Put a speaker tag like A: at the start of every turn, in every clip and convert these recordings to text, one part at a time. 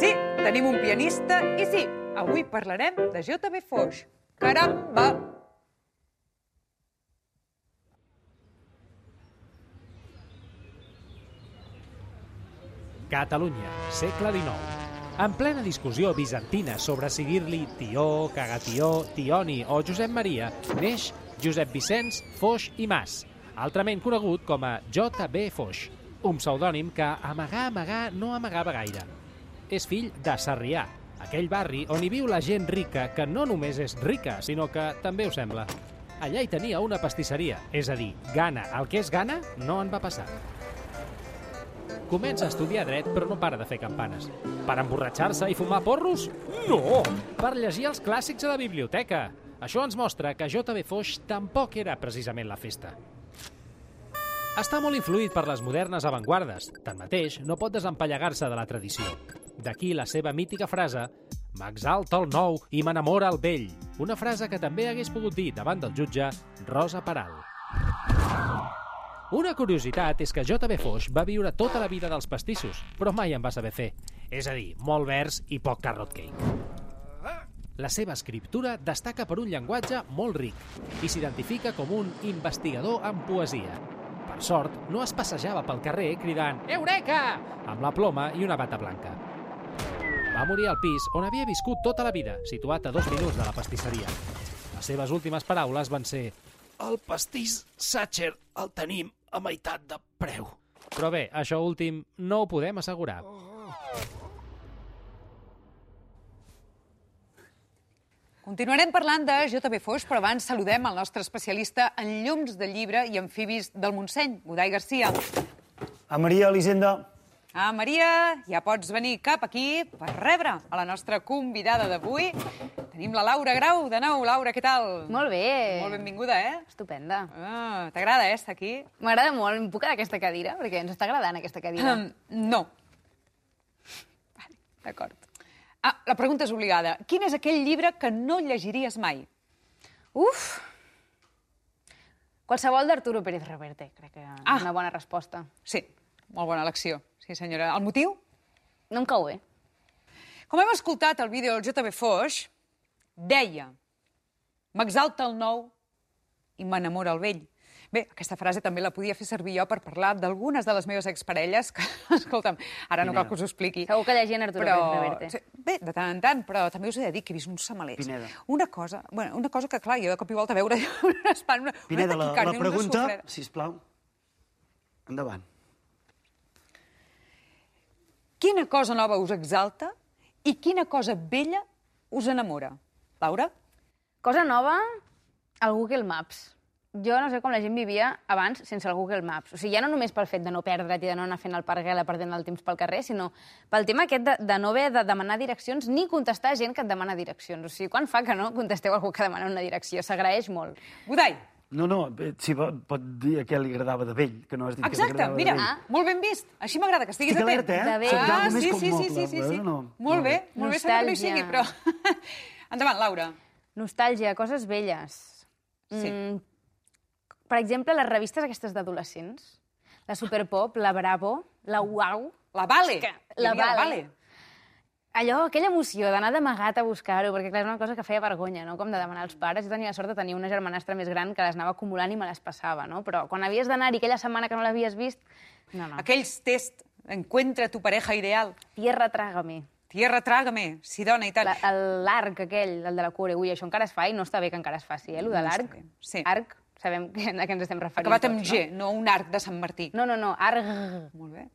A: Sí, tenim un pianista i sí, avui parlarem de J.B. Foix. Caramba!
B: Catalunya, segle XIX. En plena discussió bizantina sobre si dir-li Tió, Cagatió, Tioni o Josep Maria, neix Josep Vicenç Foix i Mas, altrament conegut com a J.B. Foix, un pseudònim que amagar, amagar, no amagava gaire. És fill de Sarrià, aquell barri on hi viu la gent rica que no només és rica, sinó que també ho sembla. Allà hi tenia una pastisseria, és a dir, gana. El que és gana no en va passar. Comença a estudiar dret, però no para de fer campanes. Per emborratxar-se i fumar porros? No! Per llegir els clàssics a la biblioteca. Això ens mostra que J.B. Foix tampoc era precisament la festa. Està molt influït per les modernes avantguardes. Tanmateix, no pot desempallegar-se de la tradició. D'aquí la seva mítica frase «M'exalta el nou i m'enamora el vell», una frase que també hagués pogut dir davant del jutge Rosa Peral. Una curiositat és que J.B. Foix va viure tota la vida dels pastissos, però mai en va saber fer. És a dir, molt vers i poc carrot cake. La seva escriptura destaca per un llenguatge molt ric i s'identifica com un investigador en poesia. Per sort, no es passejava pel carrer cridant «Eureka!» amb la ploma i una bata blanca. Va morir al pis on havia viscut tota la vida, situat a dos minuts de la pastisseria. Les seves últimes paraules van ser «El pastís Satcher el tenim a meitat de preu». Però bé, això últim no ho podem assegurar.
A: Continuarem parlant de J.B. Foix, però abans saludem el nostre especialista en llums de llibre i amfibis del Montseny, Godai Garcia.
C: A Maria Elisenda.
A: Ah, Maria, ja pots venir cap aquí per rebre a la nostra convidada d'avui. Tenim la Laura Grau, de nou. Laura, què tal?
D: Molt bé.
A: Molt benvinguda, eh?
D: Estupenda.
A: Ah, T'agrada, eh, estar aquí?
D: M'agrada molt. Em puc quedar aquesta cadira? Perquè ens està agradant aquesta cadira.
A: Ahem, No. Vale, D'acord. Ah, la pregunta és obligada. Quin és aquell llibre que no llegiries mai?
D: Uf! Qualsevol d'Arturo Pérez Reverte, crec que
A: Ah.
D: ah. una bona resposta.
A: Sí, molt bona elecció. Sí, senyora. El motiu?
D: No em cau bé.
A: Com hem escoltat el vídeo del J.B. Foix, deia m'exalta el nou i m'enamora el vell. Bé, aquesta frase també la podia fer servir jo per parlar d'algunes de les meves exparelles, que, escolta'm, ara no cal que us ho expliqui.
D: Segur que llegien Arturo
A: però...
D: Pérez Reverte.
A: sí, Bé, de tant en tant, però també us he de dir que he vist uns samalets.
C: Pineda.
A: Una cosa, bueno, una cosa que, clar, jo de cop i volta veure un espant, una,
C: Pineda,
A: una
C: la, la
A: taquicàrdia, una
C: pregunta,
A: sofreda.
C: si plau. Endavant.
A: Quina cosa nova us exalta i quina cosa vella us enamora? Laura?
D: Cosa nova, el Google Maps. Jo no sé com la gent vivia abans sense el Google Maps. O sigui, ja no només pel fet de no perdre't i de no anar fent el parguela perdent el temps pel carrer, sinó pel tema aquest de, de no haver de demanar direccions ni contestar a gent que et demana direccions. O sigui, quan fa que no contesteu a algú que demana una direcció? S'agraeix molt.
A: Godai?
C: No, no, eh, si po- pot dir a què li agradava de vell, que no has dit que li
A: Exacte,
C: agradava
A: mira,
C: de vell.
A: ah. molt ben vist. Així m'agrada que estiguis
C: Estic
A: atent.
C: alerta, eh?
D: De bé.
C: Soc ja
A: Ah,
C: només
A: sí,
C: com
A: sí, sí,
C: moble,
A: sí, sí, sí.
C: veus o No?
A: Molt bé, molt bé, sembla que no hi
D: Nostàlgia.
A: sigui, però... Endavant, Laura.
D: Nostàlgia, coses velles.
A: Sí.
D: Mm, per exemple, les revistes aquestes d'adolescents. La Superpop, la Bravo, la Uau.
A: La Vale.
D: És que
A: Hi havia
D: la Vale. Allò, aquella emoció d'anar d'amagat a buscar-ho, perquè clar, era una cosa que feia vergonya, no? com de demanar als pares. Jo tenia la sort de tenir una germanastra més gran que les anava acumulant i me les passava, no? Però quan havies d'anar-hi aquella setmana que no l'havies vist... No,
C: Ah.
D: no.
A: Aquells test, encuentra tu pareja ideal.
D: Tierra trágame.
A: Tierra, trágame, Sidona i tal.
D: La- el- L'arc aquell, el de la cura. Ui, això encara es fa i no està bé que encara es faci, eh? Allò de
A: No està
D: l'arc.
A: bé, sí.
D: Arc, sabem que- a què ens estem referint
A: Acabat
D: tots,
A: amb
D: no?
A: G, no un arc de Sant Martí.
D: No, no, no, arg...
A: Molt bé.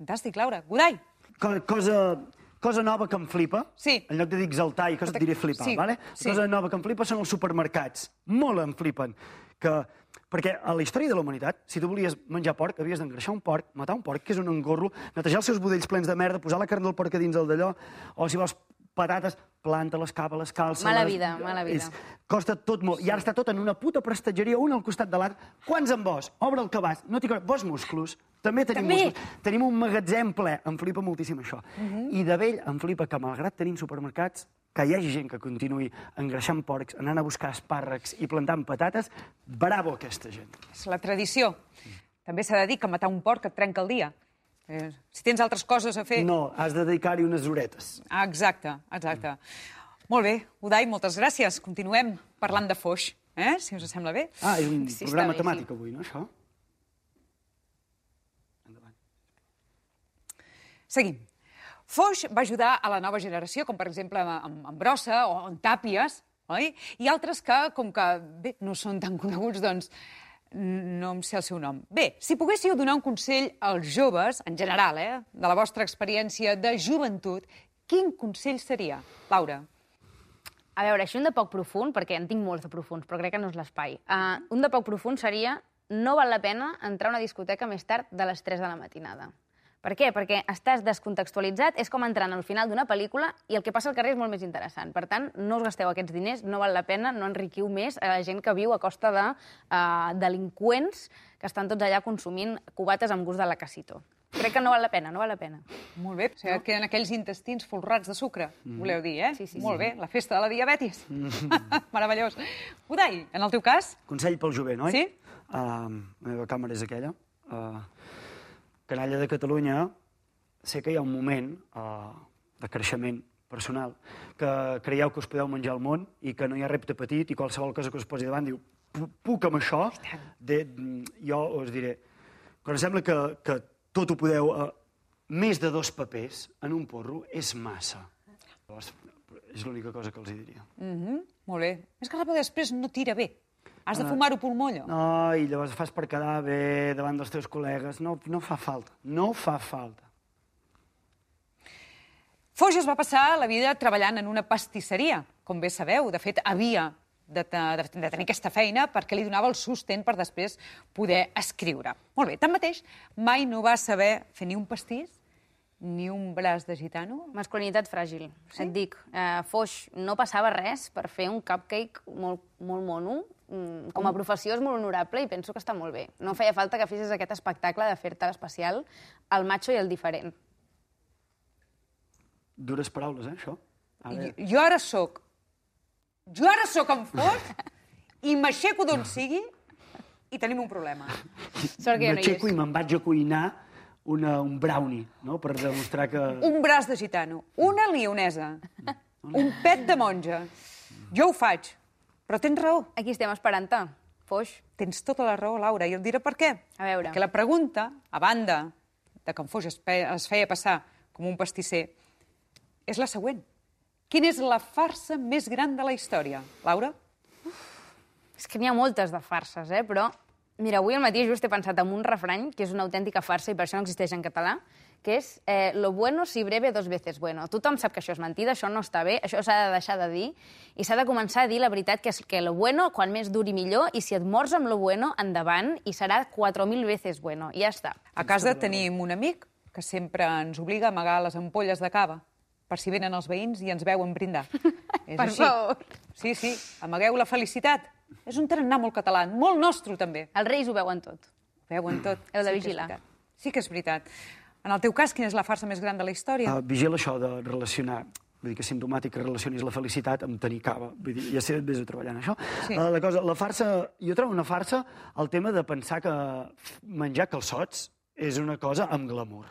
A: Fantàstic, Laura. Godai.
C: Co cosa, cosa nova que em flipa,
A: Sí.
C: en lloc de dir exaltar i cosa et diré flipar,
A: Sí,
C: vale?
A: sí.
C: Cosa nova que em flipa són els supermercats. Molt em flipen. Que, perquè a la història de la humanitat, si tu volies menjar porc, havies d'engreixar un porc, matar un porc, que és un engorro, netejar els seus budells plens de merda, posar la carn del porc a dins del d'allò, o si vols patates, planta-les, cava-les, calça...
D: Mala vida, mala vida.
C: costa tot molt. I ara està tot en una puta prestatgeria, un al costat de l'altre. Quants en vols? Obre el cabàs. No t'hi cor- Vols musclos? També tenim
D: També.
C: musclos. Tenim un magatzem ple. Em flipa moltíssim això.
D: Mhm.
C: I de vell em flipa que, malgrat tenim supermercats, que hi hagi gent que continuï engreixant porcs, anant a buscar espàrrecs i plantant patates, bravo aquesta gent.
A: És la tradició. També s'ha de dir que matar un porc et trenca el dia. Eh, si tens altres coses a
D: Eh.
A: fer...
C: No, has de dedicar-hi unes horetes.
A: Ah, exacte, exacte. Molt bé, Udai, moltes gràcies. Continuem parlant de foix, eh? si us sembla bé.
C: Ah, és un
D: Sí,
C: sí,
D: està
C: programa
D: bé, sí.
C: temàtic avui, no, això? Endavant.
A: Seguim. Foix va ajudar a la nova generació, com per exemple amb, amb Brossa o en Tàpies, oi? I altres que, com que bé, no són tan coneguts, doncs n- no em sé el seu nom. Bé, si poguéssiu donar un consell als joves, en general, eh, de la vostra experiència de joventut, quin consell seria, Laura?
D: A veure, així un de poc profund, perquè en tinc molts de profunds, però crec que no és l'espai. Uh, un de poc profund seria no val la pena entrar a una discoteca més tard de les 3 de la matinada. Per què? Perquè estàs descontextualitzat, és com entrant al final d'una pel·lícula i el que passa al carrer és molt més interessant. Per tant, no us gasteu aquests diners, no val la pena, no enriquiu més a la gent que viu a costa de uh, delinqüents que estan tots allà consumint cubates amb gust de la casito. Crec que no val la pena, no val la pena.
A: Molt bé, o sigui, no? queden aquells intestins folrats de sucre, mm. voleu dir, eh?
D: Sí, sí,
A: Molt bé, la festa de la diabetis. Meravellós. Udai, en el teu cas?
C: Consell pel jovent, oi?
A: Sí.
C: Uh, la meva càmera és aquella. Uh, canalla de Catalunya, sé que hi ha un moment uh, de creixement personal que creieu que us podeu menjar el món i que no hi ha repte petit i qualsevol cosa que us posi davant diu "Pu- puc amb això? De, mm, jo us diré, quan em sembla que, que tot ho podeu... Uh, més de dos papers en un porro és massa. Llavors, és l'única cosa que els hi diria.
A: Mm Molt bé. És que la rapa després no tira bé. Has de fumar-ho pel mollo. No.
C: Ah. No, i llavors fas per quedar bé davant dels teus col·legues. No, no fa falta. No fa falta.
A: Foix es va passar la vida treballant en una pastisseria, com bé sabeu. De fet, havia de, te- de, de tenir aquesta feina perquè li donava el sostén per després poder escriure. Molt bé, tanmateix, mai no va saber fer ni un pastís ni un braç de gitano.
D: Masculinitat fràgil, sí? et dic. Uh, Foix, no passava res per fer un cupcake molt, molt mono. Mm, com a professió és molt honorable i penso que està molt bé. No feia falta que fessis aquest espectacle de fer-te l'especial, el macho i el diferent.
C: Dures paraules, eh, això? A
A: Jo,
C: veure,
A: jo ara sóc... Jo ara sóc en Foix i m'aixeco d'on sigui i tenim un problema.
D: Sort que jo no hi
C: m'aixeco
D: és.
C: i me'n vaig a cuinar una, un brownie, no?, per demostrar que...
A: un braç de gitano, una lionesa, un pet de monja. Jo ho faig, però tens raó.
D: Aquí estem esperant-te, Foix.
A: Tens tota la raó, Laura, i et diré per què.
D: A veure.
A: Perquè la pregunta, a banda de que en Foix es, pe- es feia passar com un pastisser, és la següent. Quina és la farsa més gran de la història, Laura?
D: És que n'hi ha moltes de farses, eh? Però, mira, avui al matí just he pensat en un refrany que és una autèntica farsa i per això no existeix en català, que és eh, lo bueno si breve dos veces bueno. Tothom sap que això és mentida, això no està bé, això s'ha de deixar de dir i s'ha de començar a dir la veritat que, és que lo bueno, quan més duri millor, i si et mors amb lo bueno, endavant, i serà 4.000 veces bueno. I ja està.
A: A casa tenim un amic que sempre ens obliga a amagar les ampolles de cava per si venen els veïns i ens veuen brindar. És
D: Per favor.
A: Sí, sí, amagueu la felicitat. És un tarannà molt català, molt nostre, també.
D: Els reis ho veuen tot.
A: Ho Veuen tot.
D: Heu de
A: Sí que és
D: vigilar.
A: veritat. Sí que és veritat. En el teu cas, quina és la farsa més gran de la història?
C: Uh, vigila això de relacionar vull dir que és simptomàtic que relacionis la felicitat amb tenir cava. Vull dir, ja sé, vés a treballar en això.
A: Sí.
C: Uh, la, cosa, la farsa, jo trobo una farsa el tema de pensar que menjar calçots és una cosa amb glamour.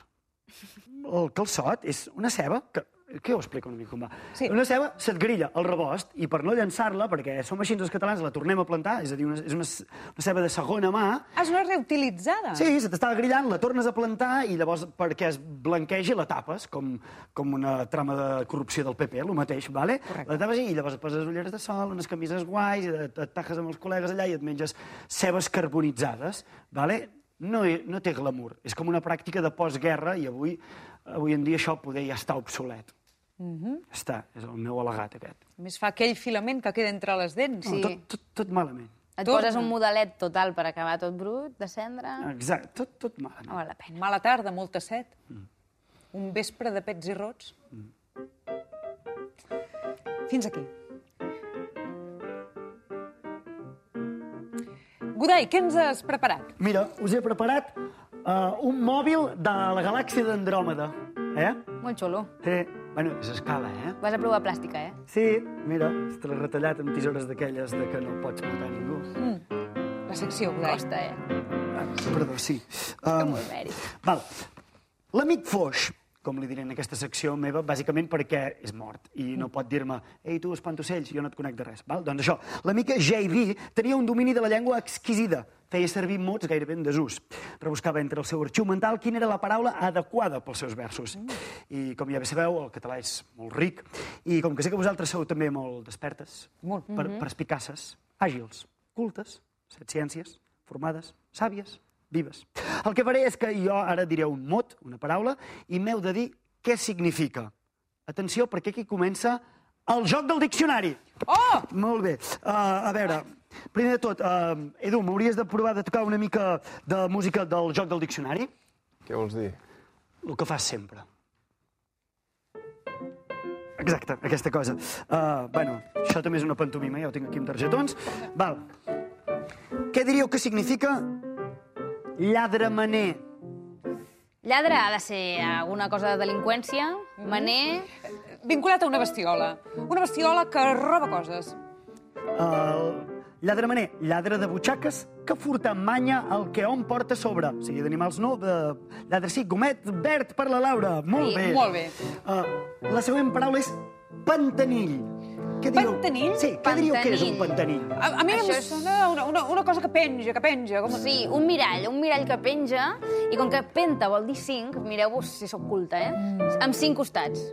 C: El calçot és una ceba que què ho explico una mica com va?
A: Sí.
C: Una ceba se't grilla al rebost i per no llançar-la, perquè som així els catalans, la tornem a plantar, és a dir, una, és una, ce- una ceba de segona mà,
A: Ah, és una reutilitzada.
C: Sí, se t'estava grillant, la tornes a plantar i llavors perquè es blanquegi la tapes, com, com una trama de corrupció del PP, el mateix, vale?
A: Correcte.
C: La tapes i llavors et poses ulleres de sol, unes camises guais, i et et tajes amb els col·legues allà i et menges cebes carbonitzades, vale? No, he- no té glamour. És com una pràctica de postguerra i avui, avui en dia això poder ja està obsolet. Mm -hmm. Està, és el meu al·legat aquest.
A: A més, fa aquell filament que queda entre les dents.
D: Sí.
C: No, tot, tot, tot malament.
D: Et
A: Torna.
D: poses un modelet total per acabar tot brut, descendre...
C: Exacte, tot, tot malament.
D: No val la pena.
A: Mala tarda, molta set.
C: Mm.
A: Un vespre de pets i rots. Fins aquí. Godai, què ens has preparat?
C: Mira, us he preparat uh, un mòbil de la galàxia d'Andròmeda. Eh?
D: Molt xulo.
C: Sí. Bueno, és a escala, eh?
D: Vas a provar plàstica, eh?
C: Sí, mira, estarà retallat amb tisores d'aquelles de que no pots matar ningú.
A: La secció, Godai.
D: Costa, eh?
C: Ah, perdó, sí. Um,
D: molt mèrit.
C: val. L'amic Foix, com li diré en aquesta secció meva, bàsicament perquè és mort i no pot dir-me «Ei, tu, espantocells, jo no et conec de res». Val? Doncs això, l'amica J.D. tenia un domini de la llengua exquisida. Feia servir mots gairebé en desús. Rebuscava entre el seu arxiu mental quina era la paraula adequada pels seus versos. I com ja bé sabeu, el català és molt ric. I com que sé que vosaltres sou també molt despertes,
A: Molt.
C: per, perspicaces, àgils, cultes, set ciències, formades, sàvies, vives. El que faré és que jo ara diré un mot, una paraula, i m'heu de dir què significa. Atenció, perquè aquí comença el joc del diccionari.
A: Oh!
C: Molt bé. Uh, a veure, primer de tot, uh, Edu, m'hauries de provar de tocar una mica de música del joc del diccionari?
E: Què vols dir?
C: El que fas sempre. Exacte, aquesta cosa. Uh, bueno, això també és una pantomima, ja ho tinc aquí amb targetons. Val. Què diríeu que significa lladramaner?
D: Lladre ha de ser alguna cosa de delinqüència,
A: Mhm.
D: maner...
A: Vinculat a una bestiola. Una bestiola que roba coses.
C: Uh, lladramaner, lladre de butxaques que furta amb manya el que hom porta a sobre. O sigui, d'animals no, de... lladre sí, gomet verd per la Laura. Molt
A: Sí,
C: bé.
A: molt bé.
C: Uh, la següent paraula és pantanill. Què diríeu?
A: Pantanill?
C: Sí, què diríeu que és un
D: Pantanill.
C: pantanill?
A: A, a mi
D: Això
A: em
D: és-
A: sona una, una, una cosa que penja, que penja. Com...
D: Sí, un mirall, un mirall que penja, i com que penta vol dir cinc, mireu-vos si sóc culta, eh?
A: Mm.
D: Amb cinc costats.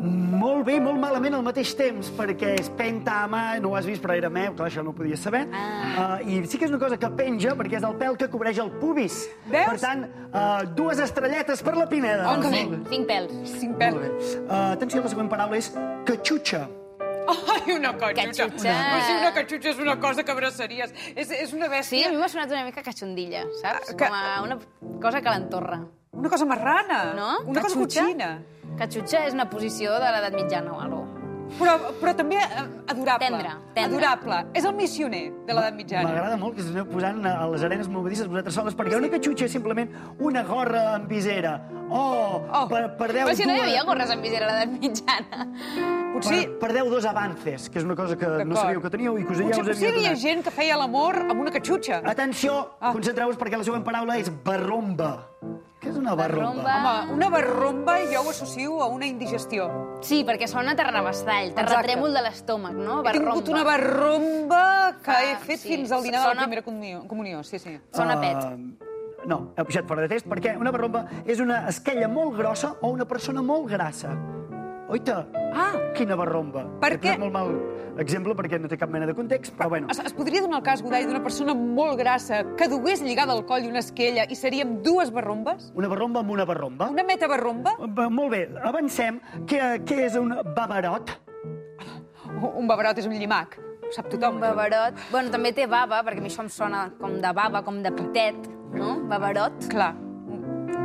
C: Molt bé, molt malament al mateix temps, perquè és penta a mà, no ho has vist, però era meu, clar, això no ho podies saber.
D: Ah.
C: Uh, I sí que és una cosa que penja, perquè és el pèl que cobreix el pubis.
A: Veus?
C: Per tant, uh, dues estrelletes per la Pineda.
A: Oh, que bé.
C: Molt
D: Cinc pèls.
A: Cinc
C: bé. Molt bé.
A: pèl.
C: Uh, atenció, la següent paraula és catxutxa.
A: Ai, una catxutxa.
D: Catxutxa.
A: Però si una catxutxa és una cosa que abraçaries. És, és una
D: Sí,
A: bèstia.
D: a mi m'ha sonat una mica catxondilla, saps?
A: Ah, que-
D: Com a una cosa que l'entorra.
A: Una cosa marrana.
D: No?
A: Una cosa
D: Catxutxa?
A: cotxina.
D: Catxutxa és una posició de l'edat mitjana o alguna cosa.
A: Però, però també eh, adorable.
D: Tendre, tendre.
A: Adorable. És el missioner de l'edat mitjana.
C: M'agrada molt que us aneu posant eh, a les arenes movedisses vosaltres soles, perquè una catxutxa és simplement una gorra amb visera. Oh,
A: Oh.
C: Per, perdeu
D: Però si no hi
C: dues-
D: havia gorres amb visera a l'edat mitjana.
A: Potser,
C: Per, perdeu dos avances, que és una cosa que no
A: D'acord.
C: sabíeu que teníeu i que us ja
A: potser,
C: us havia
A: potser hi havia
C: adonat.
A: gent que feia l'amor amb una catxutxa.
C: Atenció,
A: Ah.
C: concentreu-vos perquè la següent paraula és barromba. Què és una barromba?
D: Barromba.
A: Home, una barromba jo ho associo a una indigestió.
D: Sí, perquè sona terrabastall, terratrèmol de l'estómac, no?
A: He tingut una barromba que he
D: Ah,
A: fet
D: sí.
A: fins al dinar de la
D: Sona-
A: primera comunió. comunió. Sí, sí.
D: Sona a pet.
C: Uh, no, heu pujat fora de test perquè una barromba és una esquella molt grossa o una persona molt grassa. Oita,
A: Ah.
C: quina barromba.
A: Per
C: He
A: què?
C: posat molt mal exemple perquè no té cap mena de context, però bueno.
A: Es, es podria donar el cas, Godai, d'una persona molt grassa que dugués lligada al coll una esquella i seríem dues barrombes?
C: Una barromba amb una barromba.
A: Una metabarromba?
C: Ba- Molt bé, avancem. Què, què és un babarot?
A: Un- Un babarot és un llimac. Ho sap tothom.
D: Un
A: això.
D: babarot. Bueno, també té bava, perquè a mi això em sona com de bava, com de pitet, no? Babarot.
A: Clar.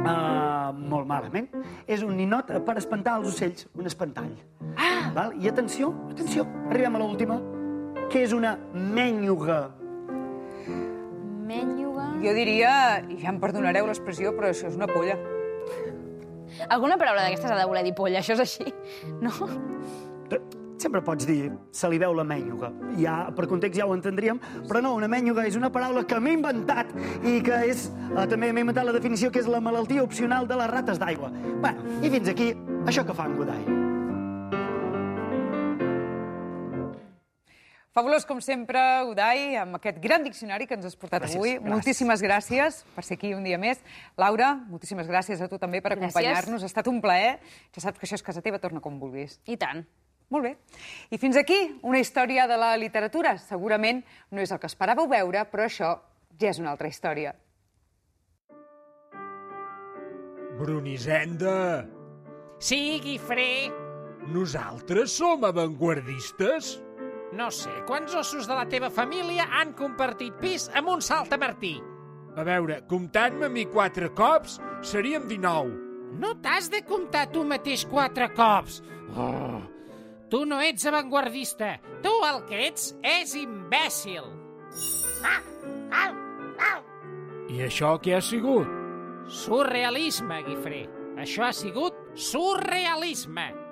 C: Uh, molt malament. És un ninot per espantar els ocells, un espantall. Ah! Val? I atenció, atenció, arribem a l'última, que és una mènyuga.
D: Mènyuga.
A: Jo diria, i ja em perdonareu l'expressió, però això és una polla.
D: Alguna paraula d'aquestes ha de voler dir polla, això és així, no?
C: T- Sempre pots dir, se li veu la mènyuga. Ja, per context ja ho entendríem, però no, una mènyuga és una paraula que m'he inventat i que és, eh, també m'he inventat la definició, que és la malaltia opcional de les rates d'aigua. Bueno, i fins aquí, això que fa en Godai.
A: Fabulós, com sempre, Udai, amb aquest gran diccionari que ens has portat
C: Gràcies,
A: avui.
C: gràcies.
A: Moltíssimes gràcies per ser aquí un dia més. Laura, moltíssimes gràcies a tu també per
D: Gràcies.
A: acompanyar-nos. Ha estat un plaer. Ja saps que això és casa teva, torna com vulguis.
D: I tant.
A: Molt bé. I fins aquí una història de la literatura. Segurament no és el que esperàveu veure, però això ja és una altra història.
F: Brunisenda!
B: Sí, Guifré.
F: Nosaltres som avantguardistes?
B: No sé quants ossos de la teva família han compartit pis amb un saltamartí.
F: A veure, comptant-me a mi quatre cops, seríem 19.
B: No t'has de comptar tu mateix quatre cops. Oh. Tu no ets avantguardista. Tu el que ets és imbècil.
F: I això què ha sigut?
B: Surrealisme, Guifré. Això ha sigut surrealisme.